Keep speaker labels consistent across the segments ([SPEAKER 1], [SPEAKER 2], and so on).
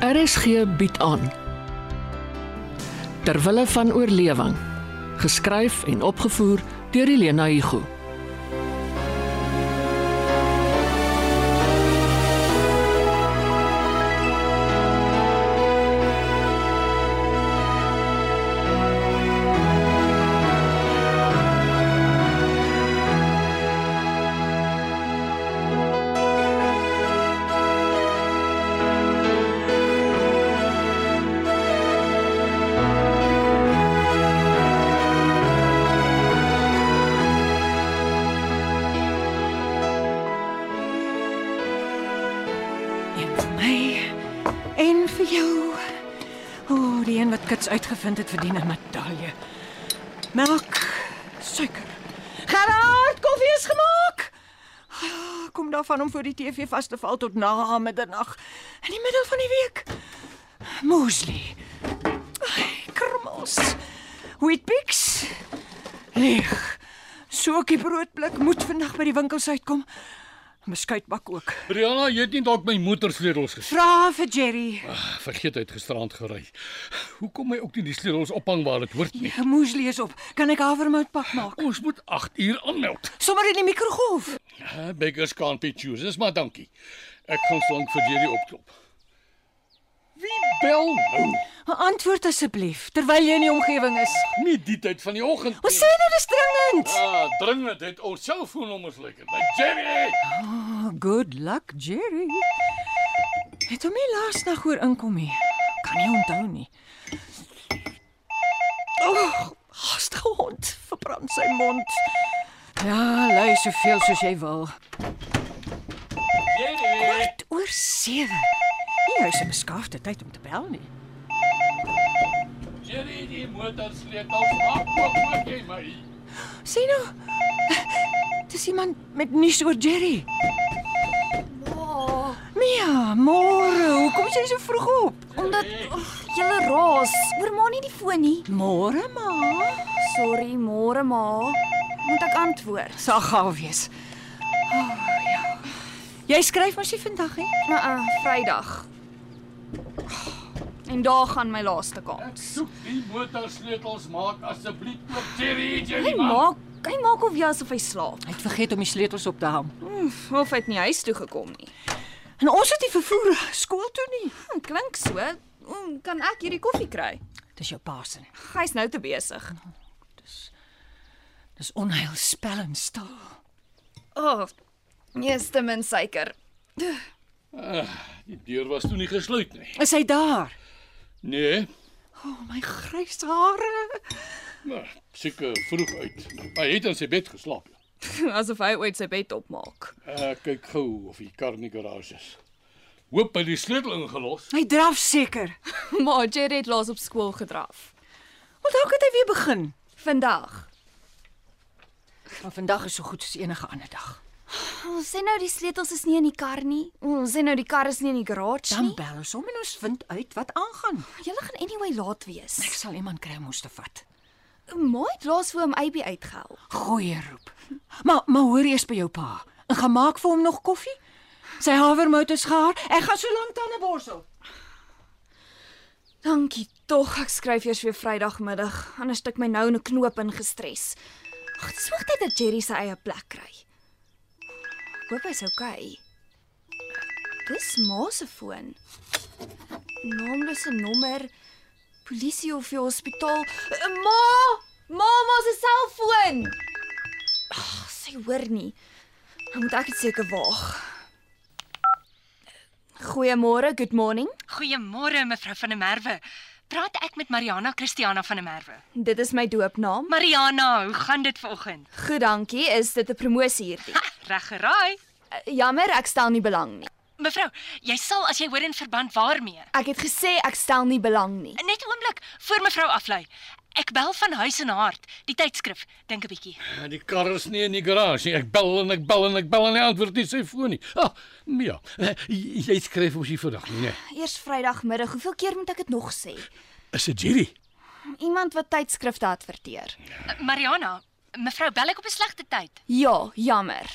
[SPEAKER 1] RSG bied aan Terwille van oorlewing geskryf en opgevoer deur Elena Igu
[SPEAKER 2] Een vir my en vir jou. O, oh, die een wat kits uitgevind het verdien 'n medalje. Melk, suiker. Gerard, koffie is gemaak. Ah, Kom daarvan om voor die TV vas te val tot na middernag in die middel van die week. Muesli. Ai, Krummels. Wheatbix. Leeg. Sookie broodblik moet vandag by die winkels uitkom. Beskuitbak ook.
[SPEAKER 3] Brianna, jy het nie dalk my motor sleutels gesien. Ah,
[SPEAKER 2] Vra vir Jerry.
[SPEAKER 3] Vergeet hy het gisteraand gery. Hoekom hy ook nie die sleutels ophang waar dit hoort nie.
[SPEAKER 2] Ja, moes lees op. Kan ek havermout pak maak?
[SPEAKER 3] Ons moet 8 uur aanmeld.
[SPEAKER 2] Sommer in die mikrogolf.
[SPEAKER 3] Ah, Beggars can't be choosers, maar dankie. Ek gaan slank vir Jerry opklop. Wie bel nou?
[SPEAKER 2] Antwoord asseblief terwyl jy in die omgewing is.
[SPEAKER 3] Nie die tyd van die oggend
[SPEAKER 2] Ons sê nou dis dringend.
[SPEAKER 3] Ah, dringend het ons selfoonnommers lekker. My Jerry.
[SPEAKER 2] Ah, Good luck, Jerry. Het hom nie laas nag hoor inkom nie. Kan nie onthou nie. Oh, hastige hond verbrand sy mond. Ja, lui soveel soos jy wil.
[SPEAKER 3] Jerry.
[SPEAKER 2] Kwart oor 7. Nie huis 'n beskaafde tyd om te bel nie.
[SPEAKER 3] Jerry, die motor sleutels maak ook vir jy my.
[SPEAKER 2] Sien nou. Dis iemand met nuus oor Jerry.
[SPEAKER 4] Oh,
[SPEAKER 2] Mia, ja, môre, hoekom is jy so vroeg op?
[SPEAKER 4] omdat oh, julle raas. Oormaak nie die foon nie.
[SPEAKER 2] Môre, ma.
[SPEAKER 4] Sorry, môre ma. Moet ek antwoord?
[SPEAKER 2] Sal gaaf wees. O, oh, ja. Jy skryf mos nie vandag hè?
[SPEAKER 4] Uh uh, Vrydag. Oh, En daar gaan my laaste kans.
[SPEAKER 3] Soek die motor sleutels maak asseblief oop Jerry, Jerry.
[SPEAKER 4] Hy maak, hy maak of jy asof hy slaap.
[SPEAKER 2] Hy het vergeet om die sleutels op te hang.
[SPEAKER 4] Of hy het nie huis toe gekom nie.
[SPEAKER 2] En ons het nie vervoer eh, skool toe nie.
[SPEAKER 4] Hm, klink so. Oom, kan ek hierdie koffie kry?
[SPEAKER 2] Dis jou pa se.
[SPEAKER 4] Hy's nou te besig.
[SPEAKER 2] Dis onheilspellend stil.
[SPEAKER 4] O, oh, eers te min suiker.
[SPEAKER 3] Die deur was toe nie gesluit nie.
[SPEAKER 2] Is hy daar?
[SPEAKER 3] Nee,
[SPEAKER 2] O, oh, my grys hare.
[SPEAKER 3] maar seker vroeg uit. Hy het in sy bed geslaap. ja.
[SPEAKER 4] Asof hy ooit sy bed opmaak.
[SPEAKER 3] Ek kyk gou of die kar in die garage is. Hoop hy het die sleutel ingelos.
[SPEAKER 2] Hy draf seker.
[SPEAKER 4] Maar Jerry het laas op skool gedraf.
[SPEAKER 2] Onthou ek het hy weer begin.
[SPEAKER 4] Vandag.
[SPEAKER 2] Maar vandag is so goed soos enige ander dag.
[SPEAKER 4] Ons sê nou die sleutels is nie in die kar nie. Ons sê nou die kar is nie in die garage
[SPEAKER 2] Dan
[SPEAKER 4] nie.
[SPEAKER 2] bel ons hom en ons vind uit wat aangaan.
[SPEAKER 4] Julle gaan anyway laat wees.
[SPEAKER 2] Ek sal iemand kry om ons te vat.
[SPEAKER 4] Maai het laas vir hom AB uitgehelp.
[SPEAKER 2] Goeie roep. Maar maar hoor eers by jou pa. En gaan maak vir hom nog koffie. Sy havermout is gaar. Ek gaan so lank tande borsel.
[SPEAKER 4] Dankie tog. Ek skryf eers weer Vrydagmiddag. Anders stik my nou 'n knoop ingestres. Ag, dis hoogtyd dat Jerry sy eie plek kry. Hoop hy's okay. Dis ma se foon. Naamlose nommer. Polisie of die hospitaal. Eh, Ma! Mamma se selfoon. Ag, sy hoor nie. Dan moet ek dit seker waag. Goeiemôre, good morning.
[SPEAKER 5] Goeiemôre mevrou van der Merwe. Praat ek met Mariana Christiana van der Merwe.
[SPEAKER 4] Dit is my doopnaam.
[SPEAKER 5] Mariana, hoe gaan dit vanoggend?
[SPEAKER 4] Goed, dankie. Is dit 'n promosie hierdie?
[SPEAKER 5] Reg geraai.
[SPEAKER 4] Eh, Jammer, ek stel nie belang nie.
[SPEAKER 5] Mevrou, jy sal as jy hoor in verband waarmee.
[SPEAKER 4] Ek het gesê ek stel nie belang nie.
[SPEAKER 5] Net 'n oomblik voor mevrou aflei. Ek bel van Huis en Hart, die tydskrif. Dink 'n bietjie.
[SPEAKER 3] En Ah, die kar is nie in die garage nie. Ek bel en ek bel en ek bel en hy antwoord nie sy foon nie. Ah, ja. Jy jy skryf mos hier vandag nie, nee.
[SPEAKER 4] Eers Vrydagmiddag. Hoeveel keer moet ek dit nog sê?
[SPEAKER 3] Is dit Jerry?
[SPEAKER 4] Iemand wat tydskrifte adverteer.
[SPEAKER 5] Eh, Mariana, mevrou bel ek op 'n slegte tyd.
[SPEAKER 4] Ja, jammer.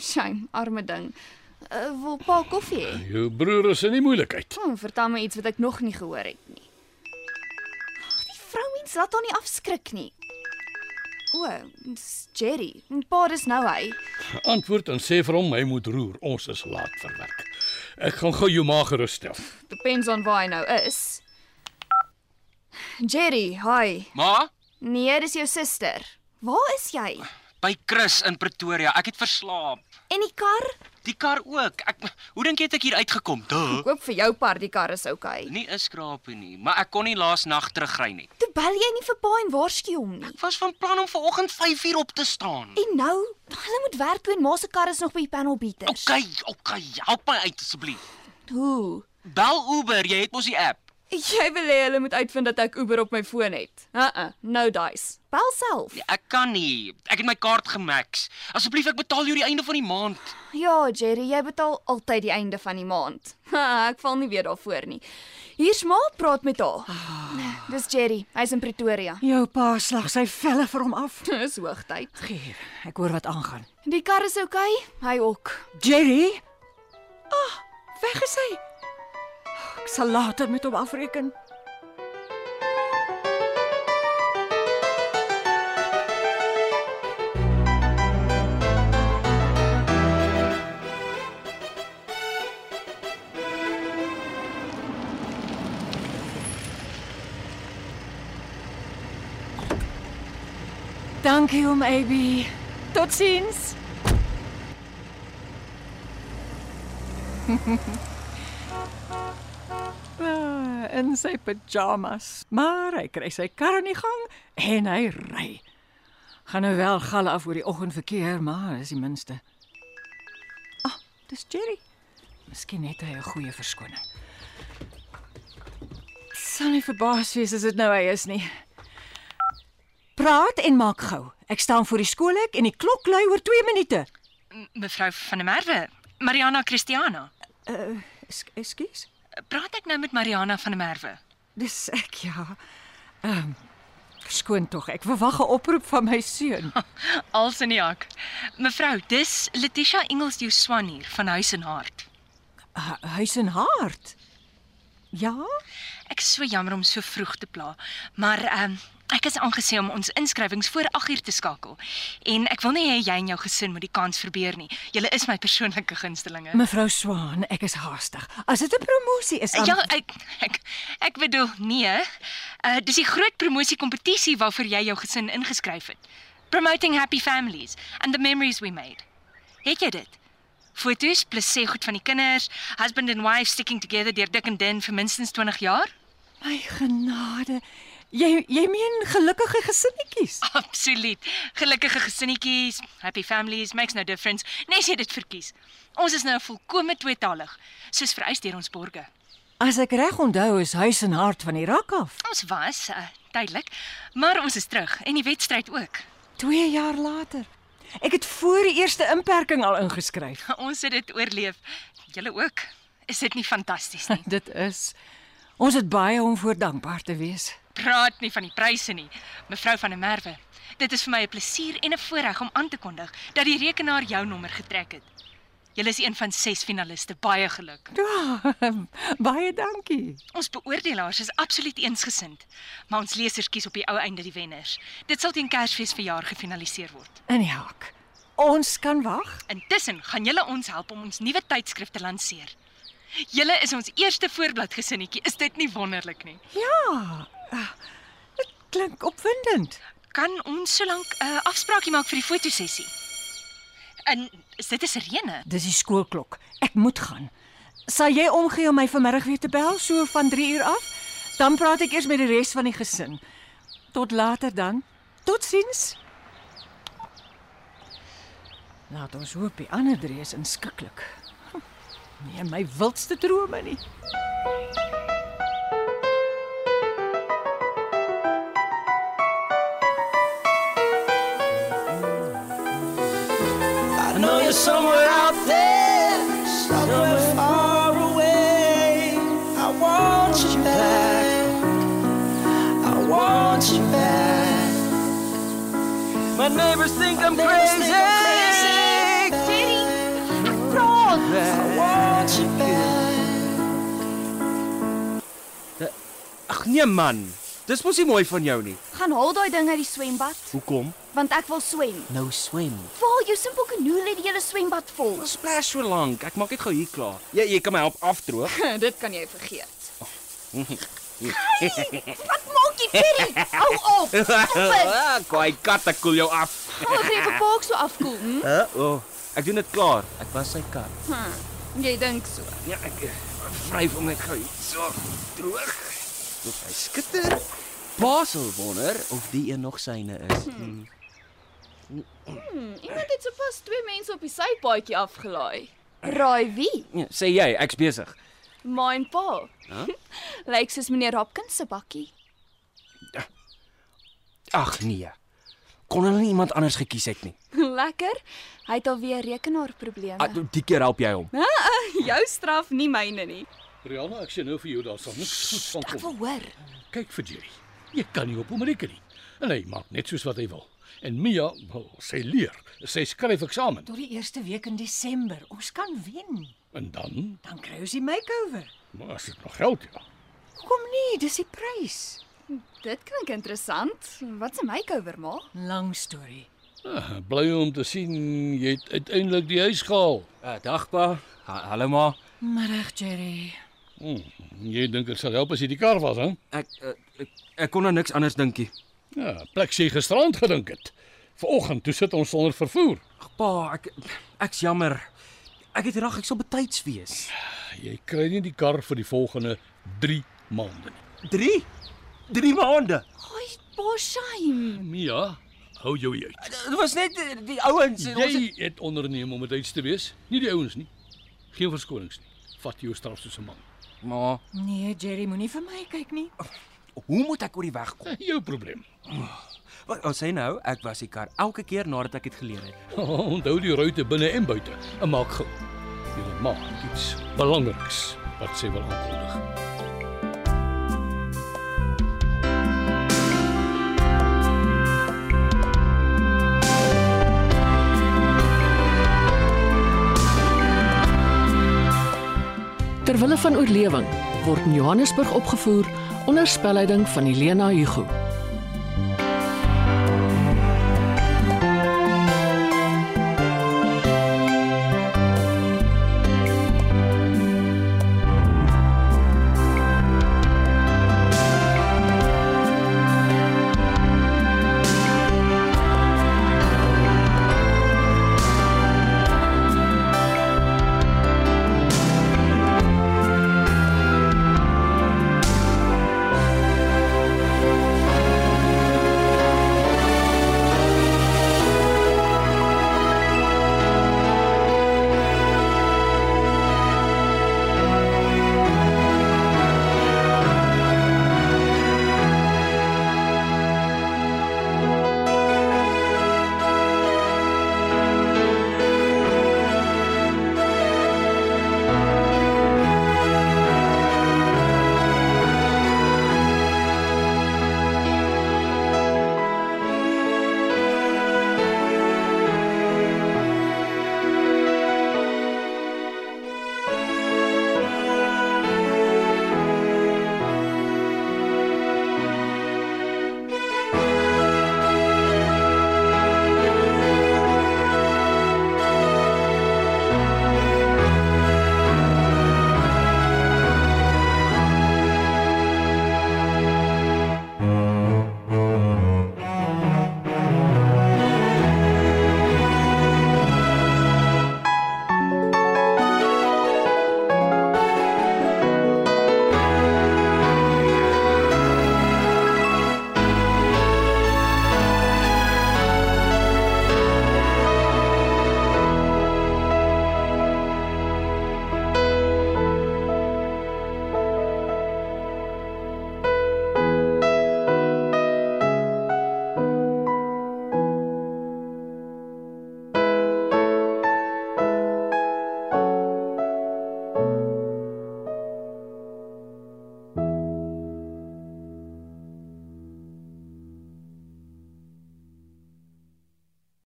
[SPEAKER 4] Shame, arme ding. Uh, wil pa koffie hê?
[SPEAKER 3] Jou broer is in die moeilikheid.
[SPEAKER 4] Hmm, vertel my iets wat ek nog nie gehoor het nie. Ag, die vrouens laat haar nie afskrik nie. O, dis Jerry. Pa, dis nou hy.
[SPEAKER 3] Antwoord en sê vir hom hy moet roer. Ons is laat vir werk. Ek gaan gou jou ma gerusstel.
[SPEAKER 4] Depends on waar hy nou is. Jerry, hi.
[SPEAKER 6] Ma,
[SPEAKER 4] Nee, dis jou suster. Waar is jy?
[SPEAKER 6] by Chris in Pretoria. Ek het verslaap.
[SPEAKER 4] En die kar?
[SPEAKER 6] Die kar ook. Ek Hoe dink jy het ek hier uitgekom? Duh.
[SPEAKER 4] Koop vir jou par, die kar is okay.
[SPEAKER 6] Nie 'n skrapie nie, maar ek kon nie laas nag terugry nie.
[SPEAKER 4] Toe bel jy nie vir pa en waarsku hom nie.
[SPEAKER 6] Ek was van plan om vanoggend 5uur op te staan.
[SPEAKER 4] En nou, hulle moet werk toe en ma se kar is nog by die panel beaters.
[SPEAKER 6] Okay, okay, help my uit asseblief.
[SPEAKER 4] Hoe?
[SPEAKER 6] Bel Uber, jy het mos die app.
[SPEAKER 4] Jy wil hê hulle moet uitvind dat ek Uber op my foon het. Uh-uh, no dice. Bel self.
[SPEAKER 6] Ek kan nie. Ek het my kaart gemax. Asseblief, ek betaal jou die einde van die maand.
[SPEAKER 4] Ja, Jerry, jy betaal altyd die einde van die maand. Ha, ek val nie weer daarvoor nie. Hier's ma, praat met haar. Dis Jerry, hy's in Pretoria.
[SPEAKER 2] Jou pa slag sy velle vir hom af.
[SPEAKER 4] Dis hoogtyd.
[SPEAKER 2] Gier, ek hoor wat aangaan.
[SPEAKER 4] Die kar is oukei, okay, hy ook.
[SPEAKER 2] Jerry? Ah, weg is hy. Ek sal later met hom afreken. Dankie om Abby. Totsiens. Ah, in sy pyjamas, maar hy kry sy kar in die gang en hy ry. Gaan nou wel gal af oor die oggendverkeer, maar dis die minste. Ah, dis Jerry. Miskien het hy 'n goeie verskoning. Sal nie verbaas wees as dit nou hy is nie. Praat en maak gou. Ek staan voor die skoolhek en die klok lui oor 2 minute.
[SPEAKER 5] M- Mevrou van der Merwe, Mariana Christiana.
[SPEAKER 2] Uh, ekskuus.
[SPEAKER 5] Praat ek nou met Mariana van der Merwe?
[SPEAKER 2] Dis ek ja. Ehm skoon tog. Ek verwag 'n oproep van my seun.
[SPEAKER 5] Als in die hak. Mevrou, dis Letitia Engels jou swan hier van Huis en Hart.
[SPEAKER 2] H- Huis en hart. Ja?
[SPEAKER 5] Ek is so jammer om so vroeg te pla, maar ehm um, ek is aangesê om ons inskrywings voor 8uur te skakel. En ek wil nie hê jy en jou gesin moet die kans verbeur nie. Julle is my persoonlike gunstelinge.
[SPEAKER 2] Mevrou Swaan, ek is haastig. As dit 'n promosie is, dan
[SPEAKER 5] Ja, ek ek ek bedoel nee. Uh dis die groot promosiekompetisie waarvoor jy jou gesin ingeskryf het. Promoting happy families and the memories we made. Het jy dit? Fotos plus sê goed van die kinders, husband and wife sticking together deur dik en dun vir minstens 20 jaar?
[SPEAKER 2] my genade. Jy jy meen gelukkige gesinnetjies.
[SPEAKER 5] Absoluut. Gelukkige gesinnetjies, happy families makes no difference. Nes jy dit verkies. Ons is nou volkome tweetalig, soos vereis deur ons borgers.
[SPEAKER 2] As ek reg onthou, is huis en hart van die rak af.
[SPEAKER 5] Ons was uh, tydelik, maar ons is terug en die wedstryd ook.
[SPEAKER 2] 2 jaar later. Ek het voor die eerste inperking al ingeskryf.
[SPEAKER 5] Ons het dit oorleef. Julle ook. Is dit nie fantasties nie?
[SPEAKER 2] Dit is ons het baie om voor dankbaar te wees.
[SPEAKER 5] Praat nie van die pryse nie, mevrou van der Merwe. Dit is vir my 'n plesier en 'n voorreg om aan te kondig dat die rekenaar jou nommer getrek het. Julle is een van 6 finaliste. Baie geluk.
[SPEAKER 2] Ja, baie dankie.
[SPEAKER 5] Ons beoordelaars is absoluut eensgesind, maar ons lesers kies op die ou einde die wenners. Dit sal teen Kersfees verjaar gefinaliseer word.
[SPEAKER 2] In die hak. Ons kan wag.
[SPEAKER 5] Intussen gaan julle ons help om ons nuwe tydskrif te lanseer. Julle is ons eerste voorblad gesinnetjie. Is dit nie wonderlik nie?
[SPEAKER 2] Ja. Dit klink opwindend.
[SPEAKER 5] Kan ons solank 'n uh, afspraakie maak vir die fotosessie? En is dit is Irene.
[SPEAKER 2] Dis die skoolklok. Ek moet gaan. Sal jy omgee om my vanmiddag weer te bel so van 3 uur af? Dan praat ek eers met die res van die gesin. Tot later dan. Totsiens. Laat ons hoop die ander drie is inskikkelik. Hm, Nee, my wildste drome nie.
[SPEAKER 7] I know you're somewhere out there, somewhere far away. I want you back. I want you back. My neighbors think I'm crazy. Praat I want you back.
[SPEAKER 6] Ag nee man. Dis mos nie mooi van jou nie.
[SPEAKER 4] Gaan haal daai ding uit die swembad,
[SPEAKER 6] Hoekom?
[SPEAKER 4] want ek wil swem.
[SPEAKER 6] Nou swem.
[SPEAKER 4] Val jou simpel kanoe lê die hele swembad vol.
[SPEAKER 6] Ons splash nou so lank. Ek maak dit gou hier klaar. Ja, Jy jy kan my help afdroog.
[SPEAKER 4] Dit kan jy vergeet. Ai, Wat maak jy Perry? Hou op. Stop
[SPEAKER 6] Kwaai kat, ek koel jou af.
[SPEAKER 4] dit. Ons het gepaak so afkoel. Hm?
[SPEAKER 6] Hæ? Huh? O, oh, ek doen dit klaar. Ek was sy kat.
[SPEAKER 4] Jy dink so.
[SPEAKER 6] Ja, ek eh, vryf hom net gou hier so droog. Loop hy skitter. Basel wonder of die een nog syne is. Hmm.
[SPEAKER 8] Iemand het sopas twee mense op die sypaadjie afgelaai.
[SPEAKER 4] Raai wie?
[SPEAKER 6] Ja, sê jy, ek's besig.
[SPEAKER 8] Ma en pa.
[SPEAKER 6] Huh?
[SPEAKER 4] Lyk soos meneer Hopkins se bakkie.
[SPEAKER 6] Ag nee. Kon hulle nie iemand anders gekies het nie.
[SPEAKER 4] Lekker. Hy het alweer rekenaarprobleme.
[SPEAKER 6] Ah, die keer help jy hom.
[SPEAKER 8] Jou straf nie myne nie.
[SPEAKER 3] Rihanna, ek sien nou vir jou daar sal niks goed van
[SPEAKER 4] Ek
[SPEAKER 3] kom.
[SPEAKER 4] wil hoor.
[SPEAKER 3] Kyk vir Jerry. Jy kan nie op hom reken nie. En hy maak net soos wat hy wil. En Mia, wel, sy leer. Sy skryf eksamen.
[SPEAKER 2] Tot die eerste week in Desember. Ons kan wen.
[SPEAKER 3] En dan,
[SPEAKER 2] Dan kry ons die makeover.
[SPEAKER 3] maar as dit nog geld ja.
[SPEAKER 2] Hoekom nie? Dis die prys.
[SPEAKER 4] Dit klink interessant. Wat 'n makeover ma?
[SPEAKER 2] Lang storie.
[SPEAKER 3] Ah, bly om te sien jy het uiteindelik die huis gehaal.
[SPEAKER 6] Uh, dag pa. Ha Hallo ma.
[SPEAKER 2] Middag, Jerry.
[SPEAKER 3] Hmm, Jy dink dit sal help as jy die kar was, hè?
[SPEAKER 6] Ek uh, ek, ek kon aan niks anders dink nie.
[SPEAKER 3] Ja, plek sy gisterand gedink het. Vanoggend toe sit ons sonder vervoer.
[SPEAKER 6] Ag pa, ek ek's jammer. Ek het reg, ek sal betyds wees.
[SPEAKER 3] Jy kry nie die kar vir die volgende 3 maande nie.
[SPEAKER 6] 3 3 maande.
[SPEAKER 4] Ai, Boshime.
[SPEAKER 3] Mia, hou jou uit.
[SPEAKER 6] Dit was net eh, die ouens en ons
[SPEAKER 3] Jy het onderneem om dit te wees, nie die ouens nie. Geen verskonings nie. Vat jou straf soos 'n man.
[SPEAKER 6] Ma,
[SPEAKER 2] Nee, Jerry, moenie vir my kyk nie.
[SPEAKER 6] hoe moet ek oor die weg kom?
[SPEAKER 3] Jou probleem.
[SPEAKER 6] Wat ons sê nou, ek was die kar elke keer nadat ek dit geleer het.
[SPEAKER 3] Onthou die ruitte binne en buite en maak gou. Jy maak iets belangriks wat sy wil aankondig.
[SPEAKER 1] Ter wille van oorlewing word in Johannesburg opgevoer onder spelleiding van Elena Hugo.